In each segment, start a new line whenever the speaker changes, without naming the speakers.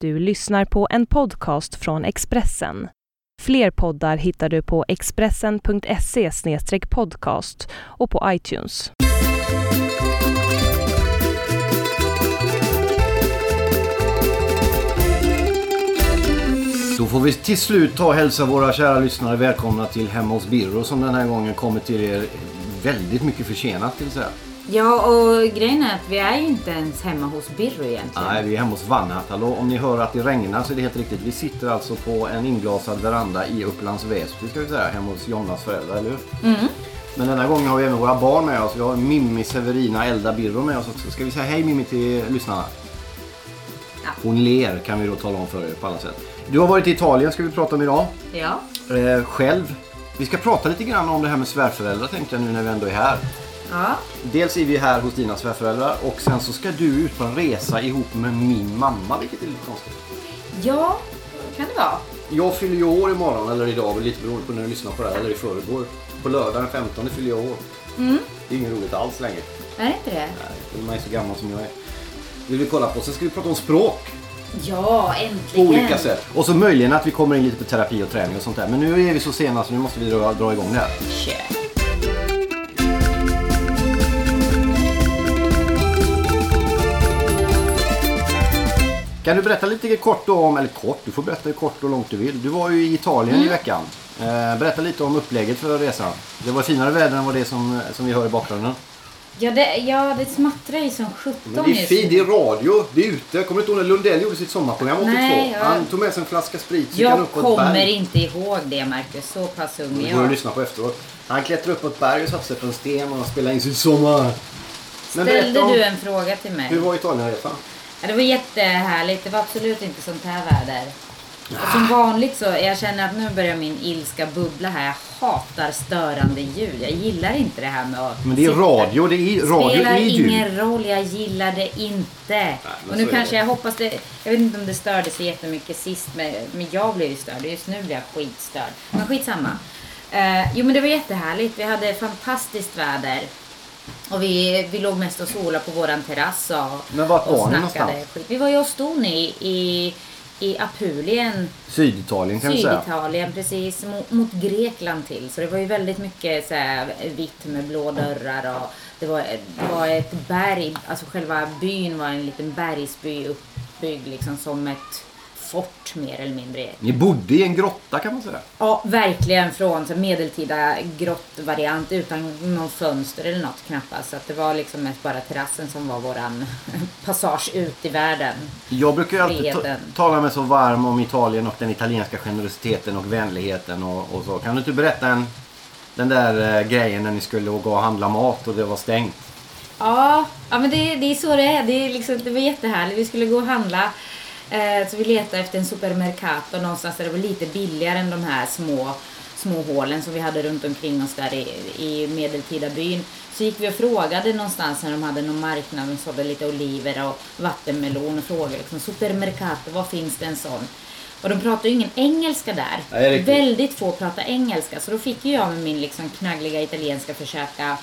du lyssnar på en podcast från Expressen. Fler poddar hittar du på expressen.se podcast och på iTunes.
Då får vi till slut ta och hälsa våra kära lyssnare välkomna till Hemma hos Birro som den här gången kommer till er väldigt mycket försenat till säga.
Ja, och grejen är att vi är ju inte ens hemma hos Birro egentligen.
Nej, vi är hemma hos Vanhatalo. Om ni hör att det regnar så är det helt riktigt. Vi sitter alltså på en inglasad veranda i Upplands Väsby ska vi säga, hemma hos Jonas föräldrar, eller hur? Men denna gången har vi även våra barn med oss. Vi har Mimmi, Severina, Elda, Birro med oss också. Ska vi säga hej Mimmi till lyssnarna? Hon ler kan vi då tala om för er på alla sätt. Du har varit i Italien ska vi prata om idag.
Ja.
Eh, själv. Vi ska prata lite grann om det här med svärföräldrar tänkte jag nu när vi ändå är här.
ja.
Dels är vi här hos dina svärföräldrar och sen så ska du ut på en resa ihop med min mamma, vilket är lite konstigt.
Ja, kan det vara.
Jag fyller ju år imorgon, eller idag, lite beroende på när du lyssnar på det här, eller i förrgår. På lördag den 15 fyller jag år. Det är inget roligt alls längre.
Är det inte det?
Nej, Man är så gammal som jag är. Vill du kolla på? Sen ska vi prata om språk
Ja,
på
äntligen.
olika sätt. Och så möjligen att vi kommer in lite på terapi och träning och sånt där. Men nu är vi så sena så nu måste vi dra, dra igång det här.
Kör.
Kan du berätta lite kort då om, eller kort, du får berätta hur kort och långt du vill. Du var ju i Italien i veckan. Eh, berätta lite om upplägget för resan. Det var finare väder än vad det är som, eh, som vi hör i bakgrunden.
Ja, det, ja, det smattrar ju som sjutton just nu.
är radio, det är ute. Kommer du inte ihåg när Lundell gjorde sitt sommarprogram
Nej, jag-
tog med sig en flaska sprit, så
Jag kommer inte ihåg det Marcus, så pass ung
Det
är
får du
jag.
lyssna på efteråt. Han klättrade upp på ett berg och satte sig på en sten och spelade in sin sommar. Men
Ställde
berätta om-
du en fråga till mig?
Hur var Italienresan?
Ja, det var jättehärligt. Det var absolut inte sånt här väder. Och
Ah.
som vanligt så, jag känner att nu börjar min ilska bubbla här. Jag hatar störande ljud. Jag gillar inte det här med att
Men det är
sitta-
radio, det är radio
spelar
är ljud.
ingen roll, jag gillar det inte.
men
och
så
nu
är
kanske
det.
jag hoppas det, jag vet inte om det störde sig jättemycket sist, men, men jag blev ju störd. Just nu blir jag skitstörd. Men skitsamma. Uh, jo men det var jättehärligt, vi hade fantastiskt väder. Och vi, vi låg mest och solade på våran terrass och,
Men vart
och
var ni
snackade
någonstans?
skit. Vi var ju och stod i, i, i Apulien
Syditalien kan vi säga.
Syditalien, precis. Mot, mot Grekland till. Så det var ju väldigt mycket så här, vitt med blå dörrar och det var, det var ett berg. Alltså själva byn var en liten bergsby uppbyggd liksom som ett fort mer eller mindre.
Ni bodde i en grotta kan man säga.
Ja, verkligen från så här, medeltida grottvariant utan någon fönster eller något knappast. Så att det var liksom mest bara terrassen som var våran passage ut i världen.
Jag brukar ju alltid ta-
Freden.
tala mig så varm om Italien och den italienska generositeten och vänligheten och, och så. Kan du inte berätta en, den där eh, grejen när ni skulle gå och handla mat och det var stängt?
Ja, ja men det, det är så det är. Det, är liksom, det var jättehärligt. Vi skulle gå och handla. Eh, så vi letade efter en supermercato någonstans där det var lite billigare än de här små, små hålen som vi hade runt omkring oss där i, i medeltida byn. Så gick vi och frågade någonstans när de hade någon marknad. De sålde lite oliver och vattenmelon och frågade liksom, supermercato, var finns det en sån? Och de pratar ju ingen engelska där.
Nej, det är riktigt.
Väldigt få pratar engelska. Så då fick ju jag med min liksom knaggliga italienska försöka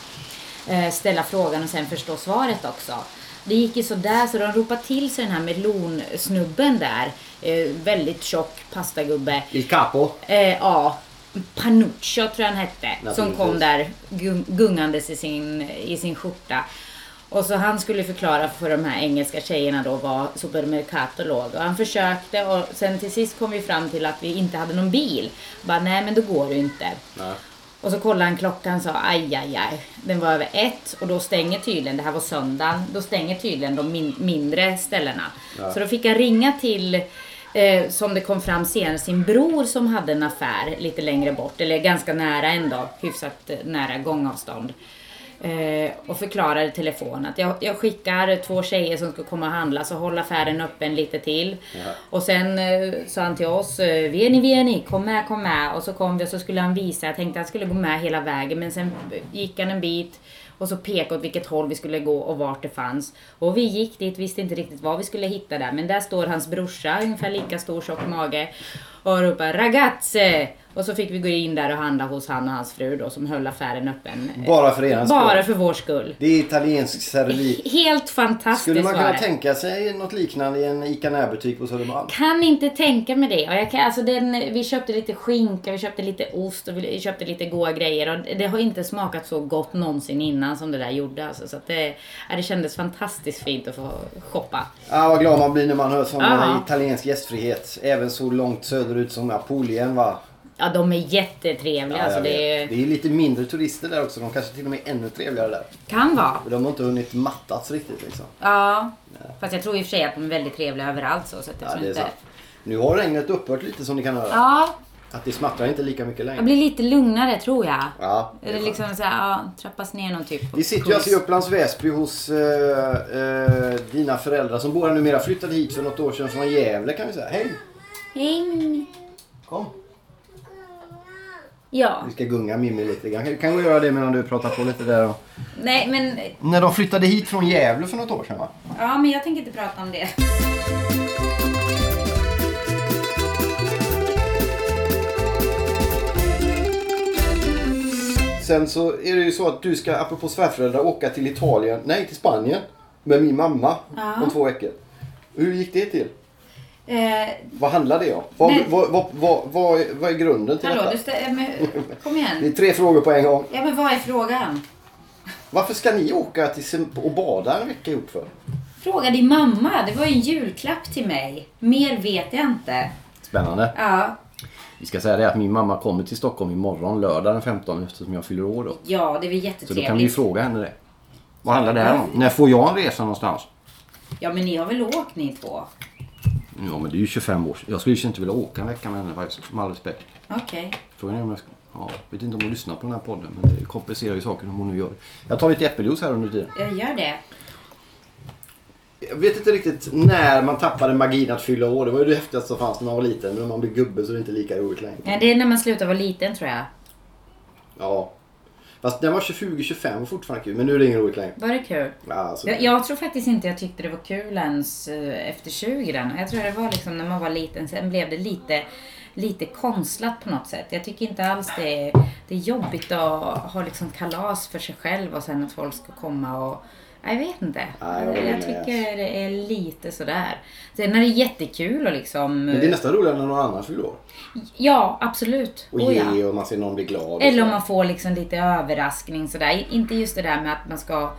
eh, ställa frågan och sen förstå svaret också. Det gick ju sådär så de ropade till sig den här melonsnubben där. Eh, väldigt tjock pastagubbe.
Il capo.
Eh, ja, Panuccio tror jag han hette. Som
Naturligtvis.
kom där gung- gungandes i sin, i sin skjorta. Och så han skulle förklara för de här engelska tjejerna då vad supermercato låg. Och han försökte och sen till sist kom vi fram till att vi inte hade någon bil. Bara, nej men då går det ju inte. Och så kollade han klockan och sa aj, aj, aj. Den var över ett och då stänger tydligen, det här var söndagen, då stänger tydligen de min- mindre ställena. Så då fick jag ringa till, eh, som det kom fram senare, sin bror som hade en affär lite längre bort, eller ganska nära ändå, hyfsat eh, nära gångavstånd. Eh, och förklarade i telefon att jag, jag skickar två tjejer som ska komma och handla så håll affären öppen lite till. Och sen eh, sa han till oss, eh, vieni vieni, kom med, kom med. Och så kom vi och så skulle han visa, jag tänkte han skulle gå med hela vägen men sen gick han en bit och så pekade åt vilket håll vi skulle gå och vart det fanns. Och vi gick dit, visste inte riktigt vad vi skulle hitta där men där står hans brorsa, ungefär lika stor tjock mage. och ropade ragazze. Och så fick vi gå in där och handla hos han och hans fru då som höll affären öppen.
Bara för er skull.
Bara för vår skull.
Det är italiensk servi.
Helt fantastiskt
Skulle man
var
kunna
det.
tänka sig något liknande i en ICA närbutik på Södermalm?
kan inte tänka mig det. Och jag kan, alltså den, vi köpte lite skinka, vi köpte lite ost och vi köpte lite goda grejer. Och det har inte smakat så gott någonsin innan som det där gjorde. Alltså, så att det, ja, det kändes fantastiskt fint att få shoppa.
Ah, vad glad man blir när man hör sån
Ja.
eh, italiensk gästfrihet. Även så långt söderut som Apulien va?
Ja, de är jättetrevliga.
Ja, jag
alltså, det
vet.
är,
det är lite mindre turister där också. De kanske till och med är ännu trevligare där.
kan vara.
För de har inte hunnit mattats riktigt liksom.
Ja. Fast jag tror i och för sig att de är väldigt trevliga överallt. Så, så att jag
Ja,
tror
det är
inte...
sant. Nu har regnet upphört lite som ni kan höra.
Ja,
Att det smattrar inte lika mycket längre.
jag blir lite lugnare tror jag.
Ja, det är
Eller
skönt.
liksom så här, ja, trappas ner någon typ.
Vi sitter ju alltså i Upplands Väsby hos eh, eh, dina föräldrar som båda numera flyttade hit för något år sedan från Gävle kan vi säga. Hej!
Häng.
Kom!
Ja.
Vi ska gunga Mimmi lite grann. Kan- Kan vi göra det medan du pratar på lite där då?
Nej, men
När de flyttade hit från Gävle för något år sedan va?
Ja, men jag tänker inte prata om det.
Sen så är det ju så att du ska, apropå svärföräldrar, åka till Italien, nej till Spanien med min mamma om två veckor. Hur gick det till?
Eh,
Vad handlar det om? Vad,
Nej.
vad, vad, vad, vad, är- vad är grunden till
hallå,
detta?
du stä- eh, men, kom
Det är
igen.
tre frågor på en gång.
Ja, men vad är frågan?
Varför ska ni åka till Sem- och bada en vecka ihop för?
Fråga din mamma. Det var ju en julklapp till mig. Mer vet jag inte.
Spännande.
Ja,
Vi ska säga det att min mamma kommer till Stockholm imorgon lördag den 15 eftersom jag fyller år då.
ja det är väl
Så då kan vi ju
jättetrevligt.
fråga henne det. Vad handlar det här om? När får jag en resa någonstans?
Ja, men ni har väl åkt ni två?
Ja men det är ju 25 år sedan. Jag skulle ju inte vilja åka en vecka med henne faktiskt. Med all respekt.
Okej.
Frågan är om jag ska... Ja, jag vet inte om hon lyssnar på den här podden men det kompenserar ju saken om hon nu gör det. Jag tar lite äppeljuice här under tiden.
Jag gör det.
Jag vet inte riktigt när man tappade magin att fylla år. Det var ju det häftigaste som fanns när man var liten. Men när man blir gubbe så är det inte lika roligt längre.
Ja, Eh, det är när man slutar vara liten tror jag.
Ja. Fast när man var 20-25 var fortfarande kul. Men nu är det ingen roligt längre.
Var det kul?
Ja, Alltså,
Jag, jag tror faktiskt inte jag tyckte det var kul ens eh, efter 20 den. Jag tror det var liksom när man var liten. Sen blev det lite, lite konstlat på något sätt. Jag tycker inte alls det är, det är jobbigt att ha liksom kalas för sig själv och sen att folk ska komma och Nej, jag vet inte.
Nej, jag
jag,
håller med.
tycker det är lite sådär. Sen är det jättekul och liksom...
Men det är nästan roligare när någon annan fyller år.
Ja, absolut.
Och
Oh, ja.
ge och man ser någon bli glad. och
Eller om
så.
man får liksom lite överraskning sådär. Inte just det där med att man ska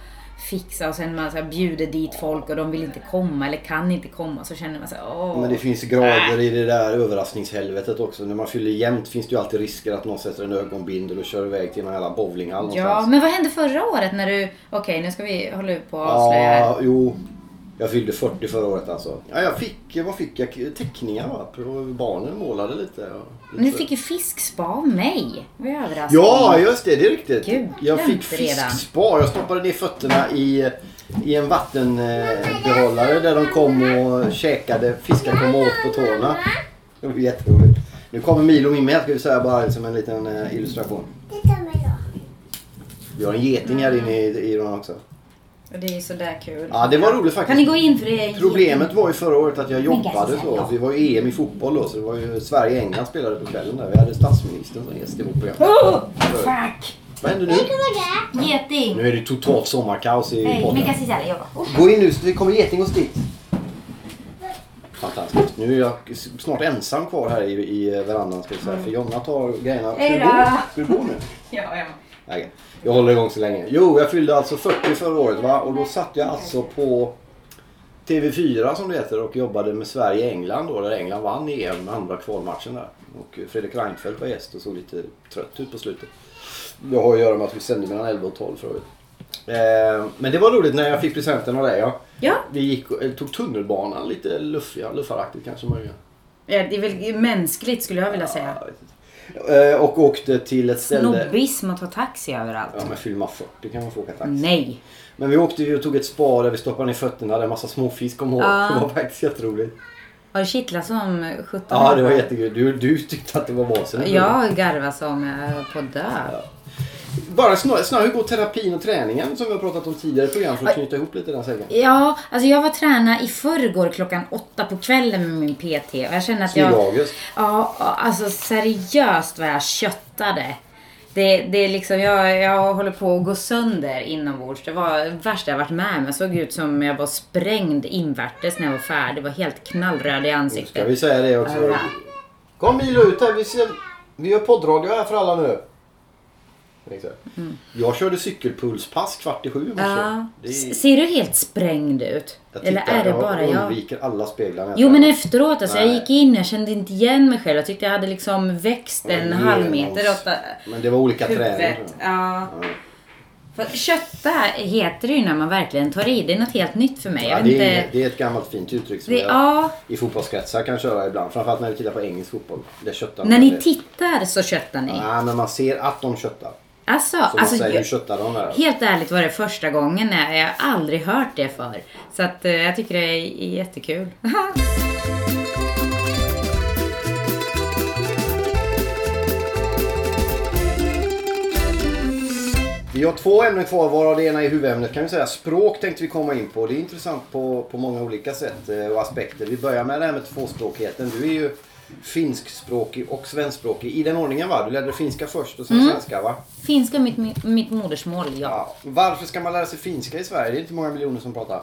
fixa och sen man så här bjuder dit folk och de vill inte komma eller kan inte komma. Så känner man så här, åh.
Men det finns grader i det där överraskningshelvetet också. När man fyller jämnt finns det ju alltid risker att någon sätter en ögonbindel och kör iväg till någon jävla bowlinghall
Ja, men vad hände förra året när du... Okej, nu ska vi hålla upp och avslöja här.
Ja, jo. Jag fyllde 40 förra året alltså. Ja, jag fick, vad fick jag? Teckningar va? Barnen målade lite. och-
Men du fick ju fiskspa av mig. Det var ju överraskning.
Ja, just det. Det är riktigt.
Gud,
jag
glömt
fick
redan.
fiskspar. Jag stoppade ner fötterna i, i en vattenbehållare där de kom och käkade. Fiskar kom åt på tårna. Det var jätteroligt. Nu kommer Milo och Mimmi här ska vi säga bara som en liten eh, illustration.
Titta mig då.
Vi har en geting här inne i, i den också.
Och det är ju sådär kul.
Ja, det var roligt
Kan ni
faktiskt.
gå in för det? är
Problemet var ju förra året att jag jobbade
Gassi,
så.
alltså, ja.
Vi var ju EM i fotboll då så det var ju Sverige-England spelade på kvällen där. Vi hade statsministern som gäst i vårt program.
Oh, fuck!
Vad händer nu?
Geting!
Nu är det totalt sommarkaos i
Hej,
podden.
Mika Ciselle jobbar. Oh.
Gå in nu, så det kommer geting och stick. Fantastiskt. Nu är jag s- snart ensam kvar här i, i verandan ska jag säga. För Jonna tar grejerna. Ska du
Mm. Hej
gå?
då.
Ska du gå nu?
Ja, ja.
Nej, okej. jag håller igång så länge. Jo, jag fyllde alltså 40 förra året va? Och då satt jag alltså på TV4 som det heter och jobbade med Sverige-England då. Där England vann i EM, andra kvalmatchen där. Och Fredrik Reinfeldt var gäst och såg lite trött ut på slutet. Det har att göra med att vi sände mellan 11 och 12 för övrigt. Eh, Men det var roligt när jag fick presenten av dig ja.
Ja,
Vi gick, och- eller tog tunnelbanan lite luffiga, luffaraktigt kanske möjligen.
det är väl mänskligt skulle jag vilja säga.
Jag vet inte. Eh, Och åkte till ett ställe...
Snobbism att ta taxi överallt.
Ja men fyller man 40 kan man få åka taxi.
Nej.
Men vi åkte ju och tog ett spa där vi stoppade ner fötterna. Där en massa småfisk kom ihåg.
Ja.
Det var faktiskt jätteroligt.
Har du kittlat som 17
Ja, det var
Mm.
jättekul. Du, du tyckte att det var vansinnigt.
Jag garvar som eh, på dö.
bara snarare, snarare gå terapin och träningen som vi har pratat om tidigare i program för att knyta ihop lite den säcken.
Ja, alltså jag var träna i förrgår klockan åtta på kvällen med min PT och jag känner att
Snygg
jag...
August.
Ja, alltså seriöst vad jag köttade. Det, det är liksom, jag, jag håller på att gå sönder inombords. Det var det värsta jag varit med om. Jag såg ut som jag var sprängd invärtes när jag var färdig. Jag var helt knallröd i
Ska
ansiktet.
vi säga det också?
Ja.
Kom Milo ut här. Vi, ser, vi gör poddradio här för alla nu. Exakt. Jag körde cykelpulspass kvart i sju i morse.
Mm. Ja.
Det är-
S- Ser du helt sprängd ut?
jag
Eller
tittar,
är det bara
Jag
jag?
undviker alla speglar. när jag
Jo men
tränar.
efteråt alltså, jag
Nej.
gick in, jag kände inte igen mig själv. Jag tyckte jag hade liksom växt en
Genom-
halv meter åt äh,
Men det var olika träning. tror
huvudet. Ja. För kötta heter det ju när man verkligen tar i. Det är något helt nytt för mig.
jag.
Jag
Ja,
vet
det,
inte.
är, det är ett gammalt fint uttryck som
Det,
jag
ja,
i fotbollskretsar kan köra ibland. Framförallt när vi tittar på engelsk fotboll. Där köttar
när ni tittar så köttar ni.
Nej, men man ser att de köttar.
Alltså,
Så man
alltså
säger, hur
jag,
köttar de där?
helt ärligt var det första gången. Jag jag har aldrig hört det förr. Så att, eh, jag tycker det är jättekul.
Vi har två ämnen kvar varav det ena är huvudämnet kan vi säga. Språk tänkte vi komma in på. Det är intressant på, på många olika sätt eh, och aspekter. Vi börjar med det här med tvåspråkigheten. Du är ju finskspråkig och svenskspråkig i den ordningen va? Du lärde dig finska först och sen
Mm.
svenska va?
Finska är mitt, mitt, mitt modersmål, ja.
Ja. Varför ska man lära sig finska i Sverige? Det är inte många miljoner som pratar.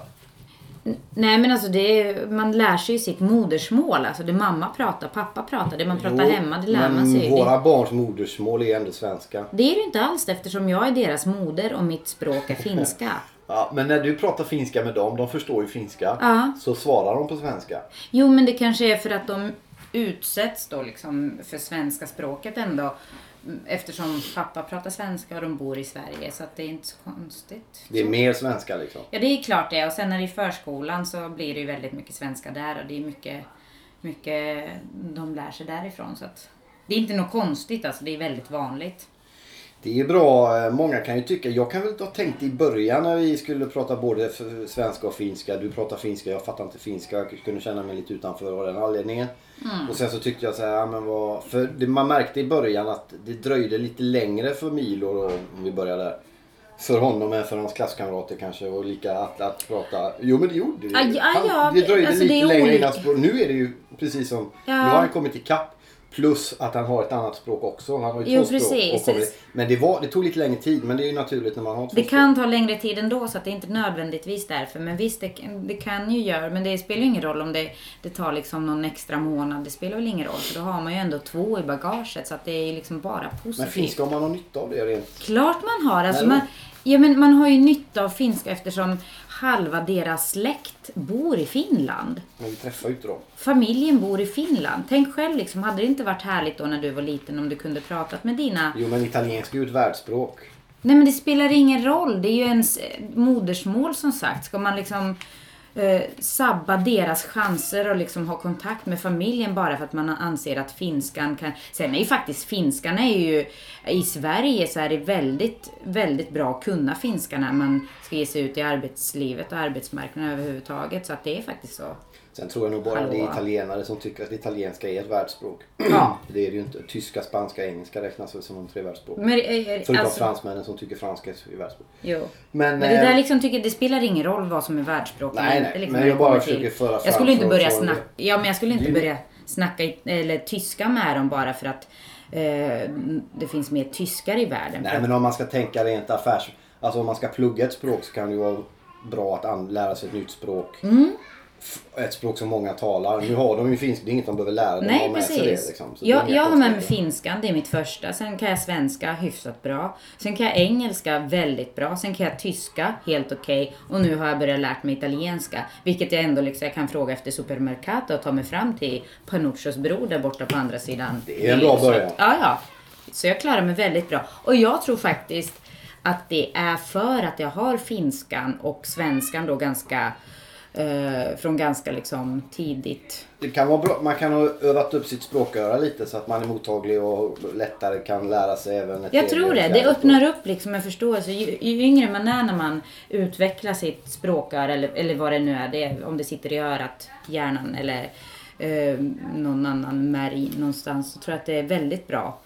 Nej men alltså det är, man lär sig ju sitt modersmål. Alltså det mamma pratar, pappa pratar, det man pratar
Jo,
hemma, det lär
men
man sig ju. Det-
våra barns modersmål är ändå svenska.
Det är det ju inte alls eftersom jag är deras moder och mitt språk är finska.
Ja, men när du pratar finska med dem, de förstår ju finska,
Ja.
så svarar de på svenska.
Jo, men det kanske är för att de utsätts då liksom för svenska språket ändå. Mm, Eftersom pappa pratar svenska och de bor i Sverige så att det är inte så konstigt.
Det är mer svenska liksom.
Ja, det är klart det. Och sen när det är förskolan så blir det ju väldigt mycket svenska där och det är mycket, mycket de lär sig därifrån. Så att det är inte något konstigt alltså, det är väldigt vanligt.
Det är bra. eh, Många kan ju tycka. Jag kan väl ha tänkt i början när vi skulle prata både f- svenska och finska. Du pratar finska, jag fattar inte finska. Jag kunde känna mig lite utanför av den anledningen.
Mm.
Och sen så tyckte jag så här, ja, men vad... För det, man märkte i början att det dröjde lite längre för Milo då, om vi börjar där. För honom än för hans klasskamrater kanske och lika att, att prata. Jo men det gjorde det.
Ja,
ju.
ja,
Han-
ja,
det dröjde
alltså,
lite
det är
längre
olika.
innan språk. Nu är det ju precis som,
Ja.
nu har han kommit ikapp. Plus att han har ett annat språk också. Han har ju
Jo,
två språk
precis.
och kommer- men det, var, det tog lite längre tid, men det är ju naturligt när man har två
Det
språk.
kan ta längre tid ändå så att det är inte nödvändigtvis därför. Men visst, det, det kan ju göra. Men det spelar ju ingen roll om det, det tar liksom någon extra månad. Det spelar väl ingen roll för då har man ju ändå två i bagaget. Så att det är ju liksom bara positivt.
Men finska, om man har nytta av det rent...
Klart man har. Alltså
Eller?
man, ja, men man har ju nytta av finska eftersom halva deras släkt bor i Finland.
Men vi träffar ju inte dem.
Familjen bor i Finland. Tänk själv liksom, hade det inte varit härligt då när du var liten om du kunde pratat med dina
Jo, men italienska är ju ett världsspråk.
Nej men det spelar ingen roll. Det är ju ens eh, modersmål som sagt. Ska man liksom eh, sabba deras chanser och liksom ha kontakt med familjen bara för att man anser att finskan kan... Sen är ju faktiskt finskan är ju... I Sverige så är det väldigt, väldigt bra att kunna finska när man ska ge sig ut i arbetslivet och arbetsmarknaden överhuvudtaget. Så att det är faktiskt så.
Sen tror jag nog bara
Hallå.
det är italienare som tycker att italienska är ett världsspråk.
Ja.
Det är det ju inte. Tyska, spanska, engelska räknas väl som de tre världsspråk.
Men, eh, eh,
Förutom
alltså,
fransmännen som tycker franska är världsspråk.
jo.
Men,
Men det där
eh,
liksom tycker, det spelar ingen roll vad som är världsspråk.
Nej,
eller
nej,
inte, liksom,
men
när
jag
det
bara
kommer
försöker
till-
föra fram
Jag skulle inte
för-
börja
för-
snacka, ja men jag skulle inte
Det-
börja snacka i, eller tyska med dem bara för att eh, det finns mer tyskar i världen. För
Nej,
att-
men om man ska tänka rent affärs... Alltså om man ska plugga ett språk så kan det ju vara bra att an- lära sig ett nytt språk.
Mm.
F- Ett språk som många talar. Nu har de ju finska, det är inget de behöver lära. De har
Nej,
med sig
precis.
Det, liksom. Så det är
jag
inga
jag har med mig
konstigheter.
finskan, det är mitt första. Sen kan jag svenska hyfsat bra. Sen kan jag engelska väldigt bra. Sen kan jag tyska helt okej. Och nu har jag börjat lärt mig italienska. Vilket jag ändå liksom, jag kan fråga efter supermercato och ta mig fram till Panuccios bror där borta på andra sidan.
Det är en bra
Så att-
början.
Ja, ja. Så jag klarar mig väldigt bra. Och jag tror faktiskt att det är för att jag har finskan och svenskan då ganska eh, från ganska liksom tidigt
Det kan vara bra. Man kan ha övat upp sitt språköra lite så att man är mottaglig och lättare kan lära sig även ett tredje
Jag tror
och
det. Det
fjärde
öppnar
språk.
upp liksom en förståelse. Ju, ju yngre man är när man utvecklar sitt språköra eller, eller vad det nu är, det, är- om det sitter i örat, hjärnan eller eh, någon annan märg någonstans, så tror jag att det är väldigt bra.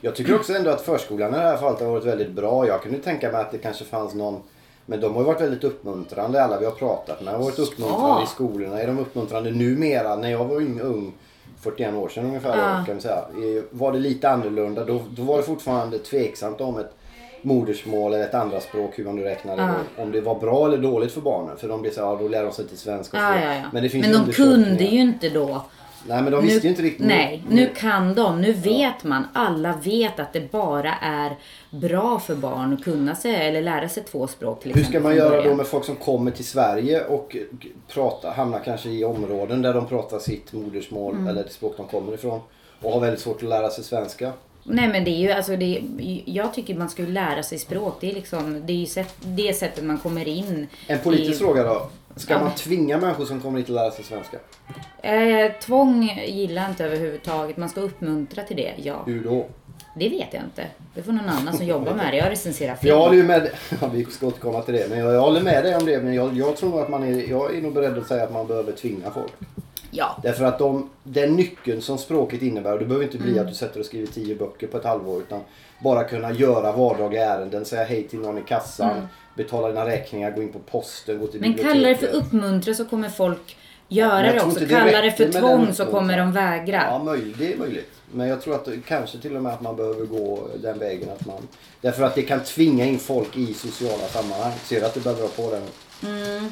Jag tycker också ändå att förskolan i det här fallet har varit väldigt bra. Jag kunde tänka mig att det kanske fanns någon men de har ju varit väldigt uppmuntrande alla vi har pratat med. De har varit uppmuntrande i skolorna. Är de uppmuntrande numera? När jag var ung, ung 41 år sedan ungefär,
Ja.
kan man säga. eh, var det lite annorlunda. Då, då var det fortfarande tveksamt om ett modersmål eller ett andra språk hur man nu räknade. då. Om det var bra eller dåligt för barnen. För de blev så här, ja, då lär de sig till svenska. och så.
Ja, ja, ja.
Men det finns
de kunde
undersökningar.
ju inte då.
Nej men de visste ju inte riktigt.
Nej, nu kan de. Nu vet man. Alla vet att det bara är bra för barn att kunna sig eller lära sig två språk. Till
Hur ska
exempel,
man
från
göra då
början.
med folk som kommer till Sverige och g- prata, hamnar kanske i områden där de pratar sitt modersmål
Mm.
eller det språk de kommer ifrån och har väldigt svårt att lära sig svenska?
Nej men det är ju alltså det, jag tycker man ska ju lära sig språk. Det är liksom, det är ju sätt, det sättet man kommer in.
En politisk
i-
fråga då. Ska
Ja,
man
men-
tvinga människor som kommer hit att lära sig svenska?
Eh, tvång gillar jag inte överhuvudtaget. Man ska uppmuntra till det, ja.
Hur då?
Det vet jag inte. Det får någon annan som jobbar med det. Jag recenserar
För jag
film.
håller ju med ja, vi ska återkomma till det, men jag, jag håller med dig om det. Men jag, jag tror att man är, jag är nog beredd att säga att man behöver tvinga folk.
Ja.
Därför att de, den nyckeln som språket innebär, och det behöver inte bli
Mm.
att du sätter och skriver tio böcker på ett halvår utan bara kunna göra vardagliga ärenden, säga hej till någon i kassan, betala dina räkningar, gå in på posten, gå till
Mm. Men
biblioteket.
kallar det för uppmuntra så kommer folk göra
Men jag
det
tror
också.
inte det
Kallar det
räcker
för
med den
tvång så
uppmuntran.
kommer de vägra.
Ja, möjligt, det är möjligt. Men jag tror att det- kanske till och med att man behöver gå den vägen att man... Därför att det kan tvinga in folk i sociala sammanhang. Ser du att du börjar dra på den?
Mm.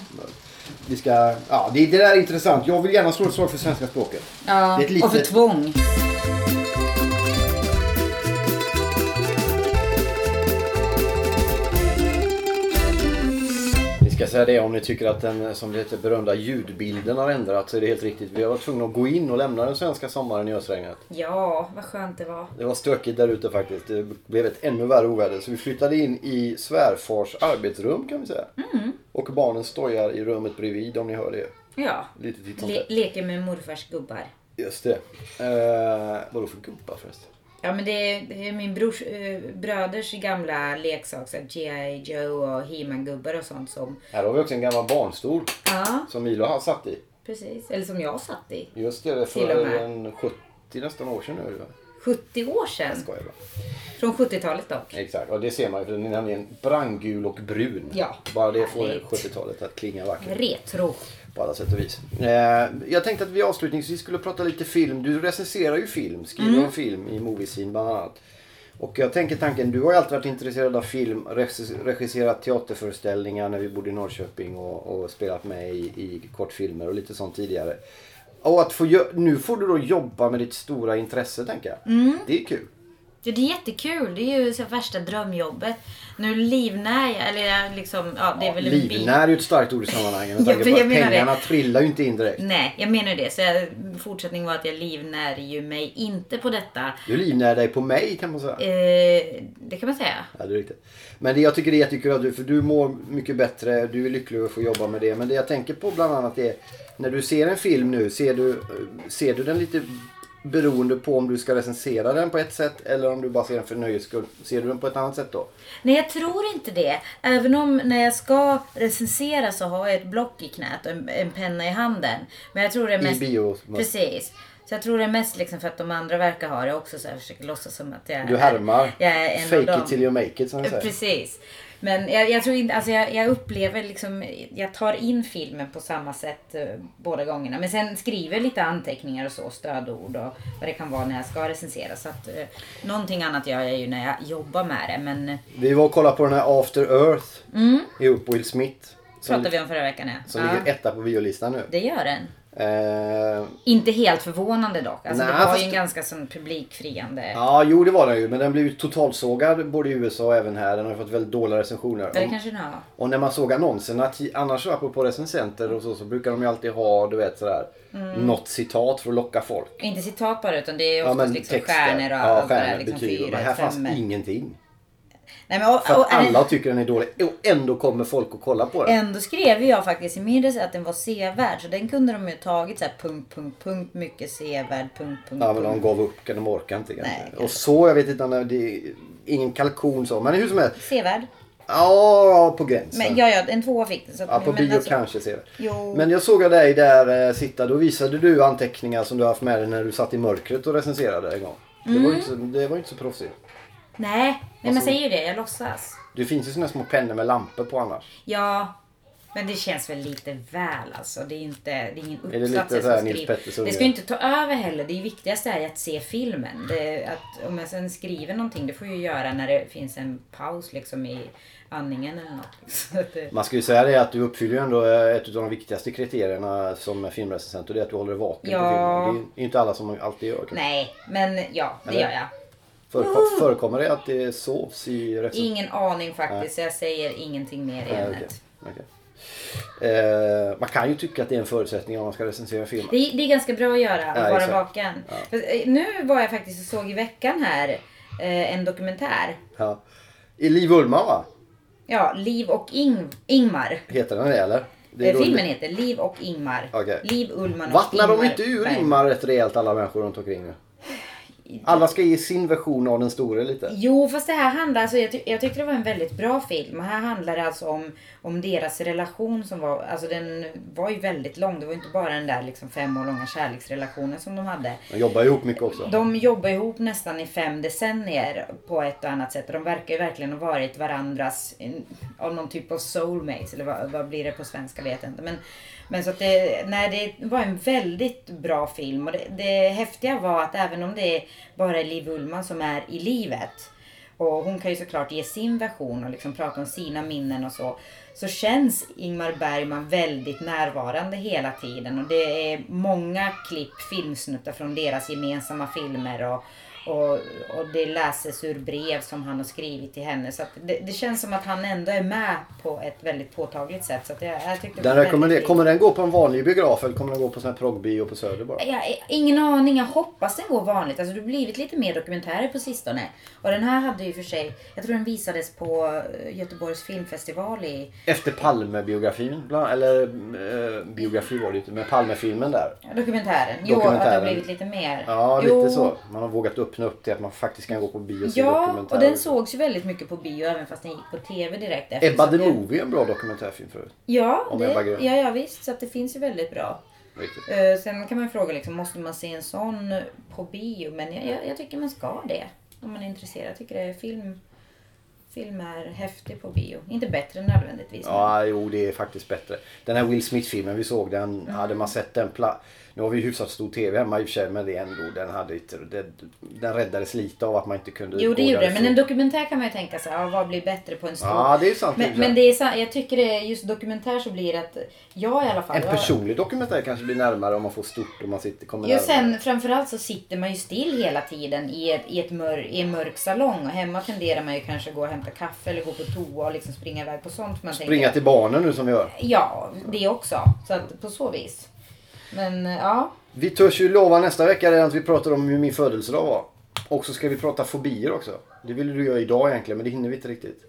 Vi ska... Ja, det, det där är intressant. Jag vill gärna slå ett slag för svenska språket.
Ja,
Det är ett litet-
och för tvång.
Vi ska säga det om ni tycker att den som det heter berömda ljudbilden har ändrats så är det helt riktigt. Vi har varit tvungna att gå in och lämna den svenska sommaren i ösregnet.
Ja, vad skönt det var.
Det var stökigt där ute faktiskt. Det blev ett ännu värre oväder. Så vi flyttade in i svärfars arbetsrum kan vi säga.
Mm.
Och barnen stojar i rummet bredvid om ni hör det.
Ja.
Lite titt som
Le-
tätt.
leker med morfars gubbar.
Just det. Eh, vadå för gubbar förresten?
Ja men det är, det är min brors, eh, bröders gamla leksak, så här G.I. Joe och He-Man-gubbar och sånt som...
Här har vi också en gammal barnstol
Ja,
som Milo har satt i.
precis. Eller som jag satt i.
Just det, det är
Till och
för
med.
en 70 nästan år sedan nu. va?
70 år sedan.
Skojar bara.
Från 70-talet dock.
Exakt, och det ser man ju för den är nämligen brandgul och brun.
Ja.
Bara det får
Härligt.
70-talet att klinga vackert
Retro.
på alla sätt och vis. Eh, jag tänkte att vi avslutningsvis skulle prata lite film. Du recenserar ju film, skriver
Mm.
om film i Moviescene bland annat. Och jag tänker tanken, du har ju alltid varit intresserad av film, regiss- regisserat teaterföreställningar när vi bodde i Norrköping och, och spelat med i, i kortfilmer och lite sånt tidigare. Och att få, gö- nu får du då jobba med ditt stora intresse tänker jag.
Mm.
Det är kul.
Ja, det är jättekul. Det är ju så värsta drömjobbet. Nu livnär jag, eller jag liksom, ja det är väl en bit-
Livnär är ju ett starkt ord i sammanhanget. Med
Ja,
tanke
för
på
jag
att
menar det.
pengarna trillar ju inte in direkt.
Nej, jag menar ju det. Så jag, fortsättningen var att jag livnär ju mig inte på detta.
Du livnär dig på mig kan man säga.
Eh, det kan man säga.
Ja, det är riktigt. Men det jag tycker det är jättekul att du, för du mår mycket bättre, du är lycklig över att få jobba med det. Men det jag tänker på bland annat är, när du ser en film nu, ser du, ser du den lite beroende på om du ska recensera den på ett sätt eller om du bara ser den för nöjes skull? Ser du den på ett annat sätt då?
Nej, jag tror inte det. Även om när jag ska recensera så har jag ett block i knät och en, en penna i handen. Men jag tror det är
I
mest...
bio?
Precis. Så jag tror det är mest liksom för att de andra verkar ha det också. Så jag försöker låtsas som att jag
Du härmar?
Jag är en av
Fake
dem.
it till you make it som jag säger.
Precis. Men jag, jag tror inte, alltså jag, jag upplever liksom, jag tar in filmen på samma sätt eh, båda gångerna. Men sen skriver jag lite anteckningar och så, stödord och vad det kan vara när jag ska recensera. Så att eh, någonting annat gör jag ju när jag jobbar med det. Men eh,
Vi var och kollade på den här After Earth ihop med Will Smith. Som,
pratade Mm. vi om förra veckan ja.
som
ja.
ligger etta på biolistan nu.
Det gör den.
Eh,
Inte helt förvånande dock. Alltså
Nej,
det var ju
fast-
en ganska sån publikfriande.
Ja, jo det var den ju. Men den blev ju totalsågad både i USA och även här. Den har ju fått väldigt dåliga recensioner.
Eller
Om-
kanske den har.
Och när man såg annonserna, ti- annars apropå recensenter och så, så brukar de ju alltid ha du vet sådär
Mm.
något citat för att locka folk.
Inte citat bara utan det är oftast liksom stjärnor och
ja,
allt det
stjärnor,
där. Liksom
betyg.
fyra,
Men här fanns
femmor.
ingenting.
Nej, men, och,
För att
och,
alla tycker den är dålig och ändå kommer folk att kolla på den.
Ändå skrev ju jag faktiskt i min rec att den var sevärd. Så den kunde de ju tagit så här punkt, punkt, punkt, mycket sevärd, punkt, punkt,
Ja men de
punkt.
gav upp, de orkar inte.
Nej,
kanske. och så, jag vet inte, om det- det är ingen kalkon så. Men hur som helst.
Sevärd.
Ja, på gränsen.
Men ja, ja, en tvåa fick den. Så att,
Ja, på
men alltså-
bio kanske ser
Jo.
vi. Men jag såg dig där eh, sitta, då visade du anteckningar som du haft med dig när du satt i mörkret och recenserade en gång. Det,
Mm.
var ju inte så, det var ju inte så proffsigt.
Nej, nej
Alltså-
men säger ju det. Jag låtsas.
Det finns ju såna små pennor med lampor på annars.
Ja, men det känns väl lite väl alltså. Det är, inte, det är ingen
det
uppsats
lite
jag
så
ska
här Nils
skriva.
Pettersson
Det ska
gör?
ju inte ta över heller. Det viktigaste är ju att se filmen. Det, att, om jag sen skriver någonting, det får jag ju göra när det finns en paus liksom i andningen eller något. Så att det-
Man ska ju säga det att du uppfyller ju ändå eh, ett av de viktigaste kriterierna som filmrecensent och det är att du håller dig vaken på
Ja.
filmen. Det är inte alla som alltid gör. kanske.
Nej, Mm. men ja, det
Eller?
gör jag.
Förekom, förekommer det att det sovs i recensionen?
Ingen aning faktiskt, så jag säger ingenting mer i ämnet.
Eh, man kan ju tycka att det är en förutsättning om man ska recensera filmen.
Det, det är ganska bra att göra, att
Ja,
vara
exakt.
vaken. Fast, eh, Nu var jag faktiskt och såg i veckan här eh, en dokumentär.
Ja. I Liv Ullman va?
Ja, Liv och Ing- Ingmar.
Heter den det eller? Det
Eh,
då-
filmen heter Liv och Ingmar.
Okej.
Liv Ullman och
Vattnar de
Ingmar
inte ur
Bergman.
Ingmar rätt rejält alla människor runt omkring nu? Alla ska ge sin version av den store lite.
Jo, fast det här handlar, alltså, jag, ty- jag tyckte det var en väldigt bra film. Här handlar det alltså om, om deras relation som var, alltså den var ju väldigt lång. Det var ju inte bara den där liksom fem år långa kärleksrelationen som de hade.
De jobbar ihop mycket också.
De jobbar ihop nästan i fem decennier på ett och annat sätt. De verkar ju verkligen ha varit varandras, en- av någon typ av soulmates, eller vad, vad blir det på svenska vet jag inte. Men, men så att det, nej, det var en väldigt bra film. Och det, det häftiga var att även om det är bara är Liv Ullman som är i livet, och hon kan ju såklart ge sin version och liksom prata om sina minnen och så. Så känns Ingmar Bergman väldigt närvarande hela tiden och det är många klipp, filmsnuttar från deras gemensamma filmer och, och, och det läses ur brev som han har skrivit till henne. Så att det, det känns som att han ändå är med på ett väldigt påtagligt sätt. Så att jag, jag tyckte det
Den
var
rekommenderar,
väldigt-
kommer den gå på en vanlig biograf eller kommer den gå på sån här proggbio på Söder bara?
jag, har ingen aning, jag hoppas den går vanligt. Alltså det har blivit lite mer dokumentärer på sistone. Och den här hade ju för sig, jag tror den visades på eh, Göteborgs filmfestival i,
Efter Palme-biografin, bland- eller eh, biografi var det ju inte, men Palme-filmen där.
ja, dokumentären. Jo, att det har
Dokumentären.
blivit lite mer.
Ja,
jo.
lite så. Man har vågat öppna upp till att man faktiskt kan gå på bio och se
Ja,
dokumentärer.
och den sågs ju väldigt mycket på bio även fast den gick på tv direkt efter.
Ebba
Så
the
att det-
Movie är en bra dokumentärfilm förut.
Ja,
om
det,
Ebba Grön.
ja, ja, visst. Så att det finns ju väldigt bra.
Riktigt.
Eh, sen kan man ju fråga, liksom, måste man se en sån på bio? Men jag, jag, jag tycker man ska det. Om man är intresserad. Jag tycker det är film, film är häftig på bio. Inte bättre nödvändigtvis. men-
Ja, jo det är faktiskt bättre. Den här Will Smith-filmen vi såg, den
Mm.
hade man sett den pla- Nu har vi hyfsat stor TV hemma i och för sig, men det är ändå, den, hade inte, den, den räddades lite av att man inte kunde
Jo,
gå
det gjorde det.
därifrån.
Men en dokumentär kan man ju tänka sig, ja, vad blir bättre på en stor...
Ja, det är sant. i och
men,
för sig.
men det är, sa- jag tycker det är just dokumentär så blir det att jag i alla fall...
En
jag-
personlig dokumentär kanske blir närmare om man får stort och man sitter, kommer
Ja,
närmare.
sen framförallt så sitter man ju still hela tiden i, ett, i, ett mör, i en mörk salong. Och hemma tenderar man ju kanske gå och hämta kaffe eller gå på toa och liksom springa iväg på sånt. Man tänker,
Springa till barnen nu som vi gör.
Ja, det också. Så att på så vis. Men eh, ja.
Vi törs ju lova nästa vecka redan att vi pratar om hur min födelsedag var. Och så ska vi prata fobier också. Det ville du göra idag egentligen men det hinner vi inte riktigt.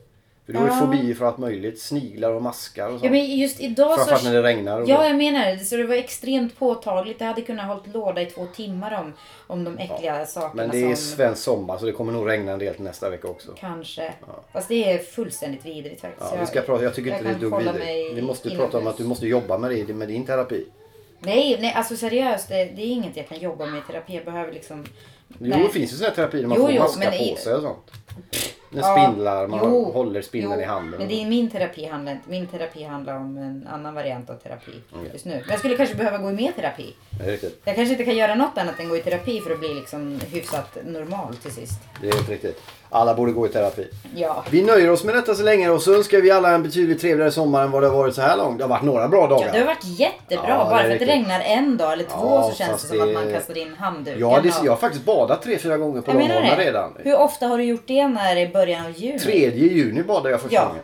För du har ju
Ja.
fobier för allt möjligt. Sniglar och maskar och sånt.
ja men just idag
Framförallt
så...
när det regnar. Och
Ja, jag menar det. Så det var extremt påtagligt. Det hade kunnat hållit låda i två timmar om, om de äckliga sakerna
men det är
som...
svensk sommar så det kommer nog regna en del till nästa vecka också.
Kanske. Fast det är fullständigt vidrigt faktiskt.
Ja,
Jag-
vi ska prata, jag tycker
jag
inte det är
kan
dugg
hålla
vidrigt.
mig
Vi måste ju
inomhus.
prata om att du måste jobba med det med din terapi.
Nej, nej alltså seriöst. Det, det är inget jag kan jobba med i terapi. Jag behöver liksom...
Jo, det finns ju sån här terapi där man
Jo,
får
jo,
maska
men i-
på sig och sånt. När
Ja,
spindlar, man
jo,
håller spindeln
jo,
i handen.
Men det är min terapi handlar inte. Min terapi handlar om en annan variant av terapi
Okej.
just nu. Men jag skulle kanske behöva gå i mer terapi.
Det är riktigt.
Jag kanske inte kan göra något annat än gå i terapi för att bli liksom hyfsat normal till sist.
Det är helt riktigt. Alla borde gå i terapi.
Ja.
Vi nöjer oss med detta så länge och så önskar vi alla en betydligt trevligare sommar än vad det har varit så här långt. Det har varit några bra dagar.
Ja, det har varit jättebra.
Ja, det är
Bara för att det
riktigt.
regnar en dag eller två
Ja,
så känns
fast
det som att
det-
man kastar in handduken.
jag, hade,
och-
jag har faktiskt badat tre, fyra gånger på
Jag menar
Långholmen
det.
redan.
Hur ofta har du gjort det när i början av juni?
3 juni badade jag första
Ja.
gången.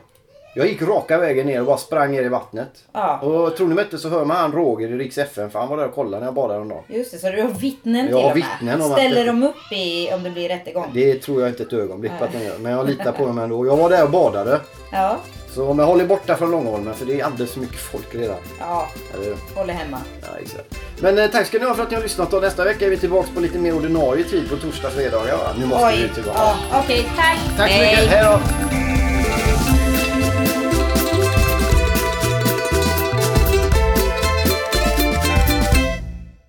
Jag gick raka vägen ner och bara sprang ner i vattnet.
Ja.
Och tror ni mig inte så hör man han Roger i Riks FN för han var där och kollade när jag badade en dag.
Just det, så du har vittnen
Jag har
till
vittnen om att
Ställer
det-
de upp i, om det blir rättegång?
Det tror jag inte ett ögonblick på att de gör. Men jag litar på dem ändå. Jag var där och badade.
Ja,
Så men håll er borta från Långholmen för det är alldeles för mycket folk redan.
ja,
Eller, hur?
håller hemma.
ja, exakt. Men eh, tack ska ni ha för att ni har lyssnat och nästa vecka är vi tillbaka på lite mer ordinarie tid på torsdag, fredagar. va? Nu måste vi
Oj,
ut tillbaka.
ja, okej, tack.
Tack så mycket, hej då!